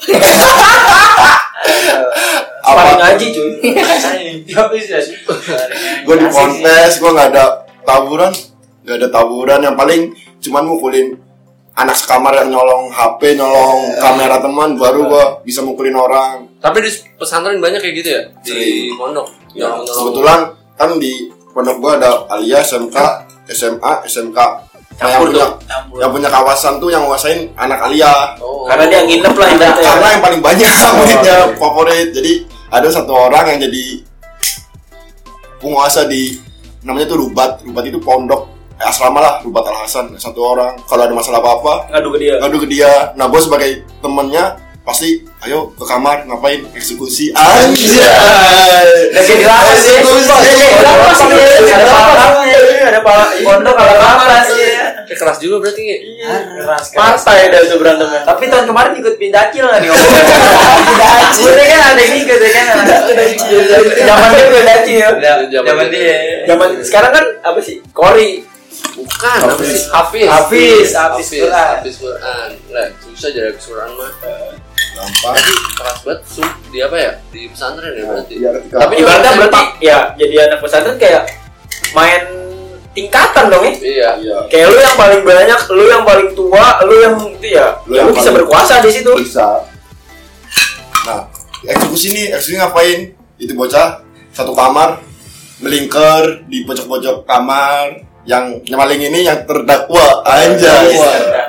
apa Paling ngaji cuy. gue di ponpes gue nggak ada tawuran nggak ada tawuran yang paling cuman mukulin anak sekamar yang nyolong HP Iya. nyolong kamera teman baru gue bisa mukulin orang Tapi di pesantren banyak kayak gitu ya di Sering. pondok. Ya, Nyolong nyolong. kebetulan kan di pondok gue ada Alia SMK SMA SMK Nah, yang Campur punya dong. yang punya kawasan tuh yang nguasain anak Alia Karena dia nginep lah ibaratnya. karena yang paling banyak muridnya favorit jadi ada satu orang yang jadi penguasa di namanya tuh rubat rubat itu pondok eh, asrama lah rubat al hasan satu orang kalau ada masalah apa apa Ngadu ke dia. ngadu ke dia nah gue sebagai temennya pasti ayo ke kamar ngapain eksekusi anjay Lagi drama sih. Lagi drama sih. Ada palang ya. Ada palang. Pondok ada palang sih. Kayak Eh, keras juga berarti. Keras keras. Partai dah tuh berantemnya. Tapi tahun kemarin ikut pindacil lah nih ngomong. Pindacil. Udah kan ada yang ikut ya kan. Zaman dia pindacil. Zaman ya. dia. Zaman sekarang kan apa sih? Kori. Bukan, apa sih? Hafiz. Hafiz, Hafiz Hafiz Quran. Hafiz Quran. Lah, susah jadi Hafiz Quran mah. gampang Keras banget sum di apa ya? Di pesantren ya berarti. ya ketika Tapi Ibaratnya berarti ya jadi anak pesantren kayak main tingkatan dong ya. Iya. iya Kayak lu yang paling banyak, lu yang paling tua, lu yang itu ya, Lu lu yang bisa paling- berkuasa di situ. bisa nah eksekusi nih eksekusi ngapain itu bocah satu kamar melingkar di pojok-pojok kamar yang yang paling ini yang terdakwa anjay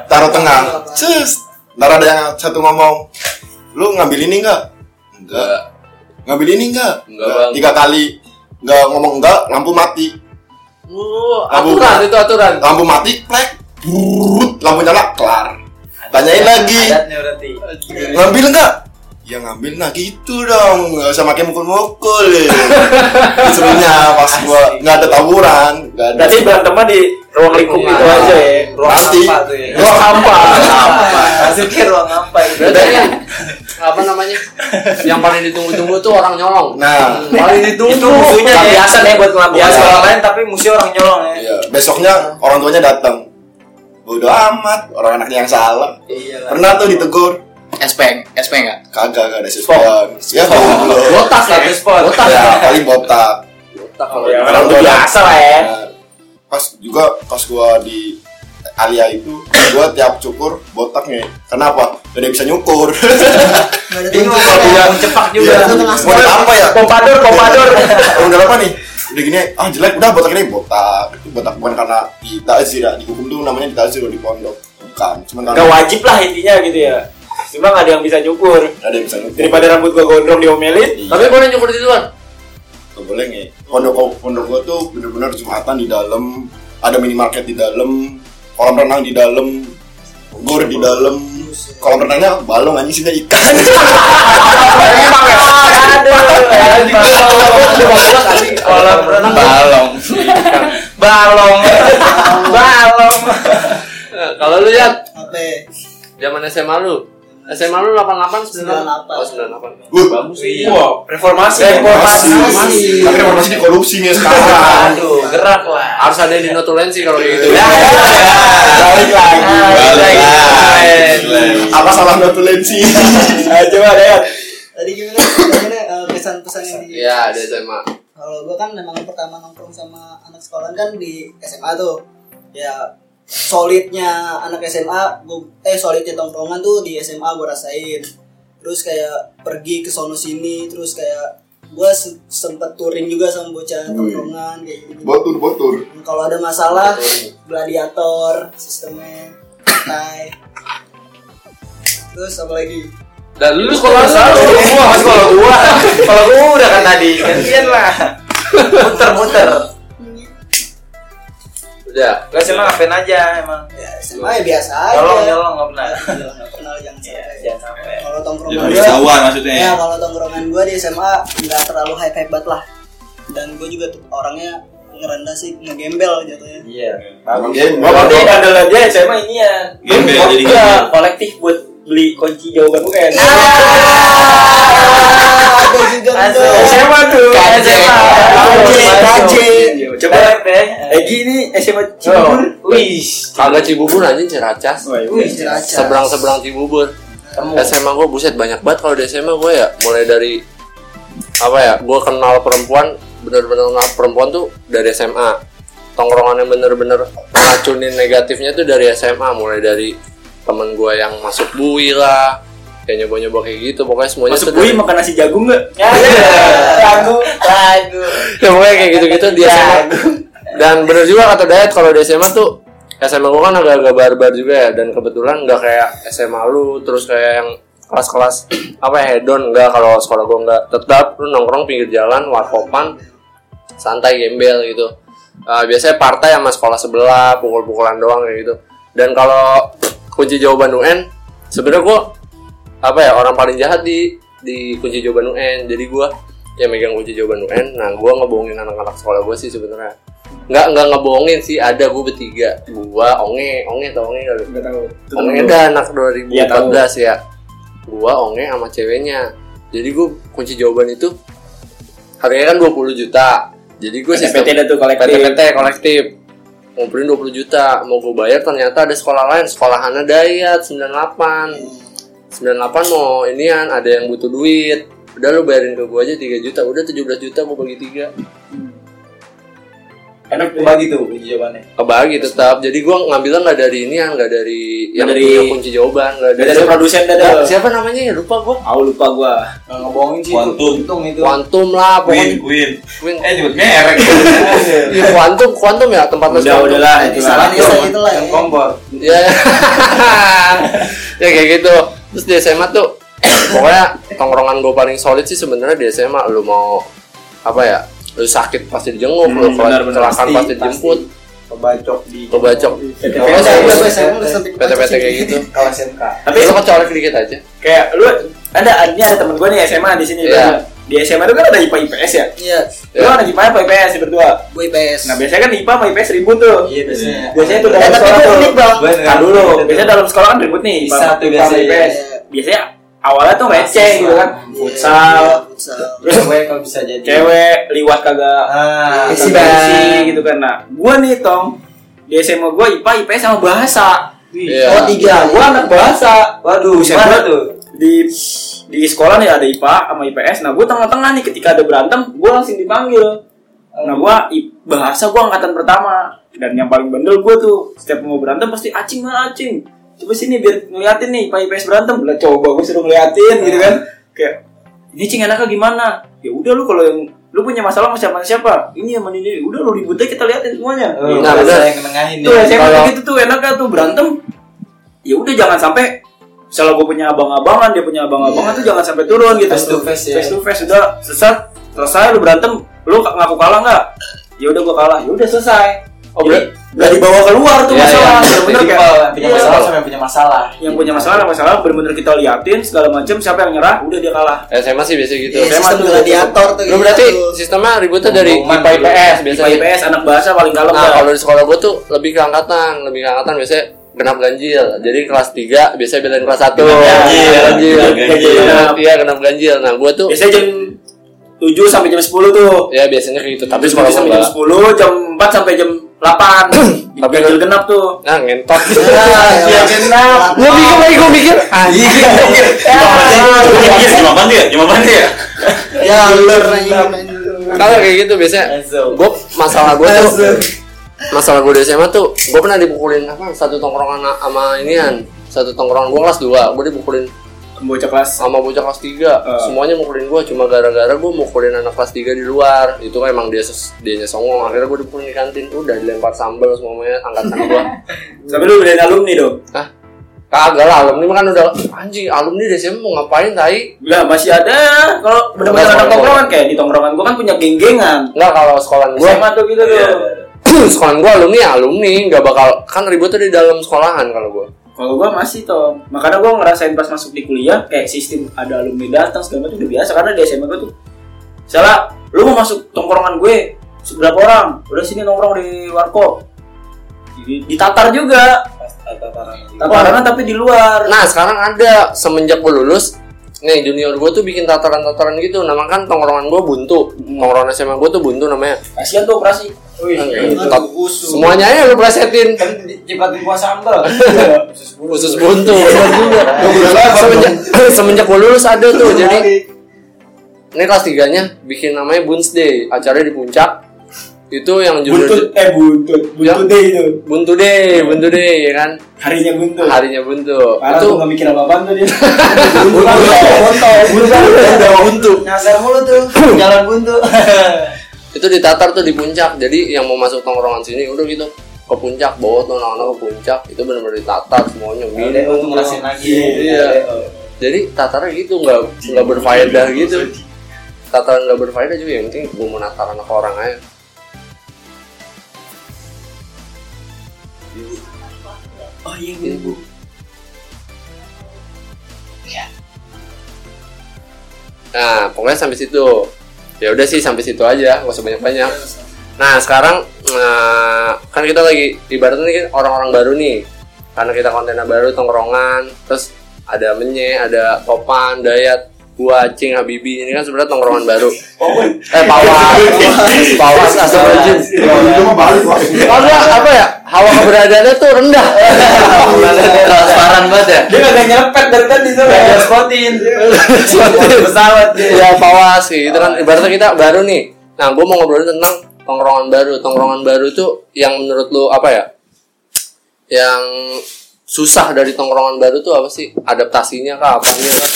taruh tengah cus ntar ada yang satu ngomong lu ngambil ini enggak enggak ngambil ini enggak Enggak, Bang. tiga kali enggak ngomong enggak lampu mati Oh, Lampu. aturan itu aturan. lampu mati plek brut lampu nyala kelar tanyain lagi Adatnya berarti. ngambil enggak? Ya ngambil nah gitu dong, nggak usah makin mukul-mukul ya. Sebenarnya pas gua nggak ada tawuran, nggak ada. Berarti berantemnya di ruang lingkup itu Iya. aja ya. Ruang Pasti. apa tuh ya? Gua sampah. Masuknya ruang apa ya? Berarti kan apa namanya? Yang paling ditunggu-tunggu tuh orang nyolong. Hmm, Nah, Paling ditunggu. Itu musuhnya ya. Biasa nih buat ngelakuin. Ya sekolah Eh, lain tapi musuh orang nyolong ya. iya. besoknya orang tuanya datang. Bodoh amat, orang anaknya yang salah. Iya lah. Pernah tuh ditegur, SP SP enggak kagak nggak ada siswa. Ya goblok. Botak ya. Respon. Botak. Ya paling botak. Botak kalau Ya, orang Orang tua biasa lah ya. Nah, pas juga pas gua di Alia itu gua tiap cukur botaknya. Kenapa? Gak ada yang bisa nyukur. Nggak ada Bingung tempat. kalau yang cepak juga. Iya. Mau ada apa ya? Pompador, pompador. Kamu udah apa nih? Udah gini, ah jelek, udah botak ini botak Itu botak bukan karena di takzir ya Di hukum tuh namanya di takzir di pondok bukan cuma Gak wajib lah intinya gitu ya. Cuma gak ada yang bisa nyukur. ada yang bisa nyukur. Daripada rambut gua gondrong diomelin, Tapi boleh nyukur di luar. Nggak boleh nge. Pondok pondok gua tuh bener-bener jumatan di dalam, ada minimarket di dalam, kolam renang di dalam, gor di dalam. Kolam renangnya balong anjing sini ikan. Kolam renang Balong. balong. Balong. Eh, Kalau lu lihat HP zaman SMA lu, SMA lu 88 98 98. Oh, 98. Wah, Wah, reformasi. reformasi. Reformasi. Tapi reformasi di korupsi nge sekarang. Aduh, gerak lah. Harus ada yang dinotulensi kalau kayak gitu. Ya, Balik lagi. Balik lagi. Apa salah notulensi? ayo coba deh. tadi gimana gimana eh, kesan-pesan yang di Iya, di SMA. kalau gue kan memang pertama nongkrong sama anak sekolah kan di SMA tuh ya solidnya anak SMA gua, eh solidnya tongkrongan tuh di SMA gue rasain terus kayak pergi ke sono sini terus kayak gue sempet touring juga sama bocah tongkrongan kayak gitu Botur, botur. kalau ada masalah gladiator sistemnya tai terus apa lagi Dan lu sekolah Kalau selalu. gua, mas kalau gua, kalau gua udah kan tadi, gantian lah. Muter-muter. Udah. Gak sih emang ngapain aja emang. ya SMA ya biasa aja Nyolong, nyolong nggak pernah. Nyolong, nggak kenal jangan Iya, sampai jangan sampai. kalau tongkrongan Jadi gue ketahuan maksudnya. ya kalau tongkrongan gue di SMA nggak terlalu hype hype banget lah dan gue juga tuh orangnya ngerendah sih ngegembel jatuhnya Iya. Emang game. Gua berarti andalan dia SMA ini ya. Gembel, Gua- jadi gua gembel. kolektif buat beli kunci jawaban UN. ada juga gitu ya. tuh SMA tuh. SMA. KJ. Coba Coba deh. Egi ini SMA Cibubur. Wih. Kagak Cibubur anjing Ciracas. Oh, iya. Seberang Seberang-seberang Cibubur. SMA gue buset banyak banget kalau di SMA gue ya mulai dari apa ya gue kenal perempuan bener-bener kenal perempuan tuh dari SMA tongkrongan yang bener-bener racunin negatifnya tuh dari SMA mulai dari temen gue yang masuk bui lah kayak nyoba-nyoba kayak gitu pokoknya semuanya Masuk tuh bui dari- makan nasi jagung nggak? Ya, Lagu, lagu. ya pokoknya kayak gitu-gitu di SMA dan bener juga kata Dayat kalau di SMA tuh SMA gue kan agak-agak barbar juga ya dan kebetulan nggak kayak SMA lu terus kayak yang kelas-kelas apa ya hedon enggak kalau sekolah gue enggak tetap lu nongkrong pinggir jalan warkopan santai gembel gitu Eh, biasanya partai sama sekolah sebelah pukul-pukulan doang kayak gitu dan kalau kunci jawaban UN sebenarnya gue apa ya orang paling jahat di di kunci jawaban UN jadi gue yang megang kunci jawaban UN nah gue ngebohongin anak-anak sekolah gue sih sebenarnya nggak nggak ngebohongin sih ada gue bertiga gue onge onge tau onge nggak lu? Nggak tahu. Onge dah anak Iya, tahu. 2014 ya. Gua Onge sama ceweknya. Jadi gua kunci jawaban itu harganya kan 20 juta. Jadi gua sistem PT dah tuh kolektif. PT kolektif. Ngumpulin 20 juta, mau gua bayar ternyata ada sekolah lain, sekolahannya Dayat 98. 98 mau inian ada yang butuh duit. Udah lu bayarin ke gua aja 3 juta, udah 17 juta gua bagi 3. Enak tuh. Bagi tuh kunci jawabannya. Kebagi Oh, tetap. Jadi gua ngambilnya nggak dari inian, nggak dari yang dari- punya kunci jawaban, nggak Dari dari produsen dah Nah, tuh. siapa namanya ya lupa gua Aku lupa gua. Nggak ngebohongin sih. Quantum. Untung itu. Quantum lah Win, pokoknya win. Win. Eh nyebut merek. Iya, Quantum Quantum ya tempat les Udah Quantum. udahlah itu salah lah. nih salah gitu lah ya Yang kompor. ya ya kayak gitu terus di SMA tuh pokoknya tongkrongan gue paling solid sih sebenarnya di SMA lu mau apa ya lu sakit pasti dijenguk lu Hmm, benar, kela- benar. kecelakaan Pasti, pasti, pasti. dijemput Kebacok di. lu bacok Kalau saya Kalau gue saya- saya udah sampai PT-PT kayak gitu Kalau SMK. Tapi Iya. lu kecolek dikit aja kayak lu ada ini ada temen gue nih SMA di sini Iya. Bang. di SMA itu kan ada IPA IPS ya iya lu Iya. anak IPA apa IPS nih berdua gue IPS nah biasanya kan IPA sama IPS ribut tuh Iya biasanya. Iya, biasanya tuh Eh, dalam tapi sekolah gue tuh unik bang kan dulu biasanya dalam sekolah kan ribut nih IPA Satu IPA sama biasanya. IPS biasanya awalnya tuh receh Mahasiswa. gitu kan futsal Iya, futsal terus cewek kalau bisa jadi. cewek liwat kagak Ah, kagak Bang. bersih Nah, gitu kan nah gue nih tong di SMA gue IPA IPS sama bahasa Iya. oh tiga Nah, gue anak bahasa Gimana Waduh, siapa tuh? di di sekolah nih ada IPA sama IPS. Nah, gue tengah-tengah nih ketika ada berantem, gue langsung dipanggil. Nah, gue bahasa gue angkatan pertama dan yang paling bandel gue tuh setiap mau berantem pasti acing mana acing. Coba sini biar ngeliatin nih IPA IPS berantem. Lah coba gue suruh Iya, ngeliatin gitu kan. Kayak ini cing enaknya gimana? Ya udah lu kalau yang lu punya masalah sama siapa siapa ini sama ini udah lu ributnya kita liatin semuanya Iya. Oh, Nah, nah, bener. saya yang nengahin tuh nih. SMA Kalau- gitu tuh enaknya tuh berantem ya udah jangan sampai misalnya gue punya abang-abangan dia punya abang-abangan tuh jangan sampai turun gitu Face to face, ya. face to face udah sesat selesai lu berantem lu ngaku kalah nggak ya udah gue kalah ya udah selesai Oh, Jadi, nggak dibawa keluar tuh Iya, masalah iya. bener Bener kayak kan? Punya Iya. masalah sama yang punya masalah. yang punya masalah masalah bener-bener kita liatin segala macam siapa yang nyerah udah dia kalah SMA sih biasa gitu. Iya, sistem gladiator tuh Lu gitu. berarti sistemnya ributnya dari Pengumuman IPA dulu. IPS IPA biasanya. IPS anak bahasa paling kalem Nah, dah. kalau di sekolah gua tuh lebih ke angkatan, lebih ke angkatan biasanya genap ganjil. Jadi kelas 3 biasanya belain kelas 1. ganjil, ganjil. genap ganjil. Genap, Iya, genap ganjil. Nah, gua tuh biasanya jam 7 sampai jam 10 tuh ya biasanya kayak gitu. Tapi jam sekolah 7 sampai gua jam 10 jam 4 sampai jam 8 Tapi- ganjil genap tuh Nah, ngentot. Iya, genap Gua mikir lagi, gua mikir. Anjing. Iya, Iya, jam apaan tuh ya? Jam apaan tuh ya? Ya, ulur nanya Kalau kayak gitu biasanya Enzo. gue masalah gue tuh masalah gue di SMA tuh gue pernah dipukulin apa satu tongkrongan na- sama inian satu tongkrongan gue kelas 2 gue dipukulin bocah kelas sama bocah kelas 3 semuanya mukulin gue cuma gara-gara gue mukulin anak kelas 3 di luar itu memang dia ses- dianya songong akhirnya gue dipukulin di kantin udah dilempar sambal semuanya angkatan gue tapi lu belain alumni dong Hah? kagak lah alumni mah kan udah anjing alumni di SMA mau ngapain tai Lah masih ada kalau Nggak, benar-benar ada sekolah tongkrongan kayak di tongkrongan gua kan punya geng-gengan Enggak kalau sekolah gue SMA tuh gitu tuh Iya. sekolah gue alumni ya alumni nggak bakal kan ributnya di dalam sekolahan kalau gue kalau gua masih tuh makanya gua ngerasain pas masuk di kuliah kayak sistem ada alumni datang segala macam udah biasa karena di SMA gua tuh misalnya lu mau masuk tongkrongan gue seberapa orang udah sini nongkrong di warkop Di- ditatar juga tataran tapi di luar Nah sekarang ada semenjak gue lulus Nih junior gue tuh bikin tataran-tataran gitu Nama kan tongkrongan gue buntu Tongkrongan SMA gue tuh buntu namanya kasihan tuh operasi Tat- Semuanya aja lu plesetin Cipatin kuah sambal. Khusus buntu Semenjak, semenjak gue lulus ada tuh Iya. Jadi eh, Ini kelas tiganya bikin namanya Buns Day Acaranya di puncak Itu yang junior buntut eh buntut buntut Ya. deh itu Buntu Day Buntu Day ya kan harinya buntut Harinya buntu Iya. Parah Itu tuh nggak mikir apa-apaan tuh dia Buntut Buntut Buntut Nyasar mulu tuh. Jalan buntu. itu ditatar tuh di puncak jadi yang mau masuk tongkrongan sini udah gitu ke puncak bawa tuh anak-anak ke puncak itu benar-benar ditatar semuanya Udah minum untuk ngerasain lagi. Iya. jadi tatarnya gitu nggak nggak berfaedah gitu tataran nggak berfaedah juga yang penting gue mau natar anak orang aja Oh iya, Gitu, Bu. Iya. Nah, pokoknya sampai situ. Ya udah sih sampai situ aja, nggak usah banyak-banyak. Nah, sekarang eh, kan kita lagi ibaratnya nih orang-orang baru nih. Karena kita kontennya baru, tongkrongan, terus ada menye, ada topan, dayat, gua, cing, habibi, ini kan sebenarnya tongkrongan baru. eh, pawan, pawan, astagfirullahaladzim. mau balik Bos. Karena apa ya, hawa keberadaannya tuh rendah. transparan banget ya Dia kagak nyerempet dari tadi tuh. Kagak spotin. Pesawat dia. ya pawas sih itu kan ibaratnya kita baru nih nah gue mau ngobrolin tentang tongkrongan baru tongkrongan baru tuh yang menurut lu apa ya yang susah dari tongkrongan baru tuh apa sih adaptasinya kah apanya kah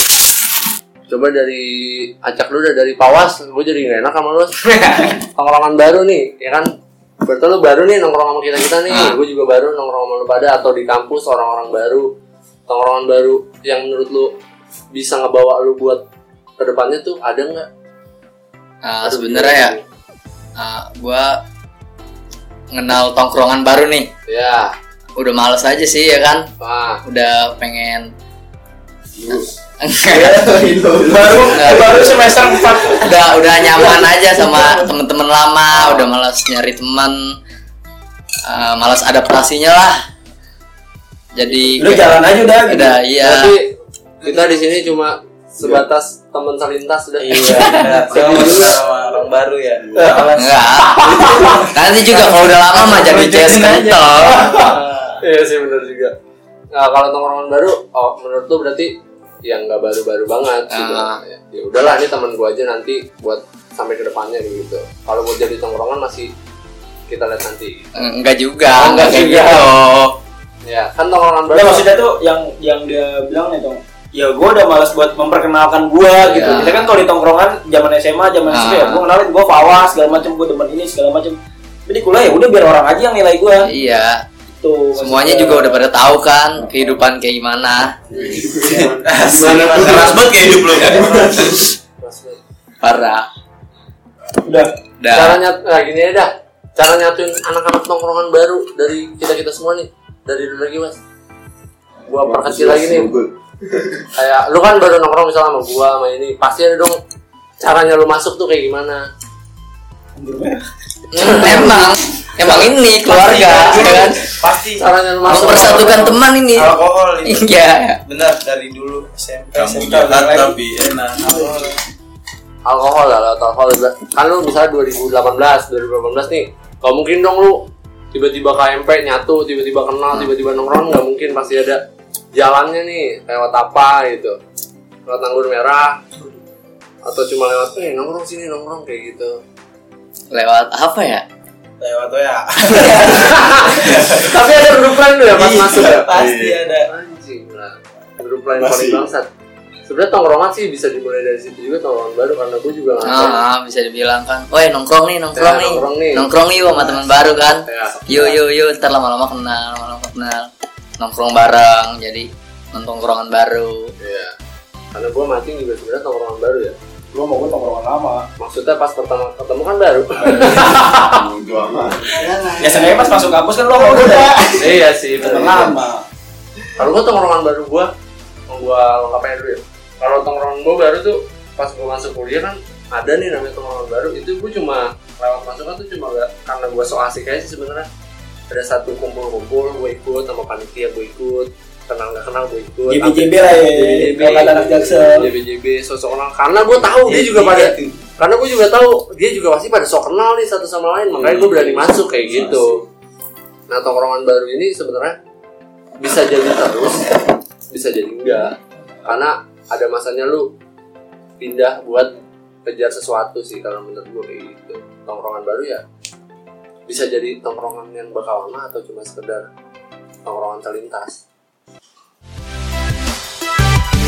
coba dari acak lu dah, dari pawas gue jadi gak enak sama lu tongkrongan baru nih ya kan berarti lu baru nih nongkrong sama kita kita nih Ah. gue juga baru nongkrong sama lu pada atau di kampus orang-orang baru tongkrongan baru yang menurut lu bisa ngebawa lu buat kedepannya tuh ada nggak Ah, sebenarnya ya ah, gua kenal tongkrongan baru nih ya udah males aja sih ya kan wah udah pengen Baru baru semester 4 udah udah nyaman aja sama temen-temen lama udah malas nyari teman eh, malas adaptasinya lah jadi Lu jalan aja udah gitu udah iya berarti Ya. kita di sini cuma sebatas teman selintas udah Iya. Sama sama orang baru ya. enggak nanti juga kalau udah lama mah jadi CS kental iya sih benar juga nah kalau tongkrongan baru oh, menurut lu berarti yang nggak baru-baru banget sih Ah. ya ya udahlah ini teman gua aja nanti buat sampai kedepannya gitu kalau buat jadi tongkrongan masih kita lihat nanti enggak juga Oh, enggak enggak kayak juga. gitu ya kan tongkrongan baru Udah maksudnya tuh yang yang dia bilang nih Tong Ya gue udah malas buat memperkenalkan gue gitu Iya. Kita kan kalau di tongkrongan zaman SMA, zaman Ah. SMP ya Gue kenalin gue fawas segala macem, gue demen ini segala macem Tapi di kuliah ya udah biar orang aja yang nilai gue iya Tuh, maksud Semuanya gua. juga udah pada tahu kan kehidupan kayak gimana. Mana keras banget kayak hidup lo. Parah. udah Cara Udah. nyat, nah gini aja dah. Cara nyatuin anak-anak tongkrongan baru dari kita kita semua nih. Dari dulu lagi mas. Gua perkecil lagi nih. Kayak lu kan baru nongkrong misalnya sama gua sama ini. Pasti ada dong caranya lu masuk tuh kayak gimana. Hmm, Emang emang ini keluarga Iya. ya kan. pasti Caranya lu masuk. Mempersatukan teman ini. alkohol gitu. itu Iya. benar dari dulu SMP Kamu SMK jahat lagi. tapi enak. Alkohol. alkohol lah lewat alkohol kan lu misalnya 2018 2018 nih gak mungkin dong lu tiba-tiba KMP nyatu tiba-tiba Hmm. kenal tiba-tiba nongkrong nggak mungkin pasti ada jalannya nih lewat apa gitu lewat anggur merah atau cuma lewat eh nongkrong sini nongkrong kayak gitu Lewat apa ya? lewat tuh ya tapi ada grup lain tuh ya pas Iya. masuk ya pasti Iya, ada anjing lah grup lain paling bangsat sebenarnya tongkrongan sih bisa dimulai dari situ juga tongkrongan baru karena gue juga nggak tahu Ah, bisa dibilang kan. Woi, nongkrong nih, nongkrong Ya, nih. nongkrong nih. Nongkrong nih sama teman baru kan. Ya. Yo yo yo, ntar lama-lama kenal, lama-lama kenal. Nongkrong bareng, jadi nongkrongan baru. Iya. Karena gue mati juga sebenarnya tongkrongan baru ya. Gua mau gua tongkrongan lama. Maksudnya pas pertama ketemu kan baru. Bodoh amat. biasanya pas masuk kampus kan lo kalau udah iya sih. temen bener. lama Kalau gue tongkrongan baru gue, gue lengkapnya dulu ya. Kalau tongkrongan gue baru tuh pas gue masuk kuliah kan ada nih namanya tongkrongan baru. Itu gue cuma lewat masukan tuh cuma gak karena gue so asik aja sih sebenarnya. Ada satu kumpul-kumpul, gue ikut sama panitia gue ikut kenal nggak kenal gue ikut JBJB lah ya. Kalau kata anak Jaksel. JBJB sosok kenal karena gue tahu dia juga Iya, pada karena gue juga tahu dia juga pasti pada sok kenal nih satu sama lain makanya gue berani masuk kayak gitu nah tongkrongan baru ini sebenarnya bisa jadi terus bisa jadi enggak karena ada masanya lu pindah buat kejar sesuatu sih kalau menurut gue kayak gitu tongkrongan baru ya bisa jadi tongkrongan yang bakal lama atau cuma sekedar tongkrongan terlintas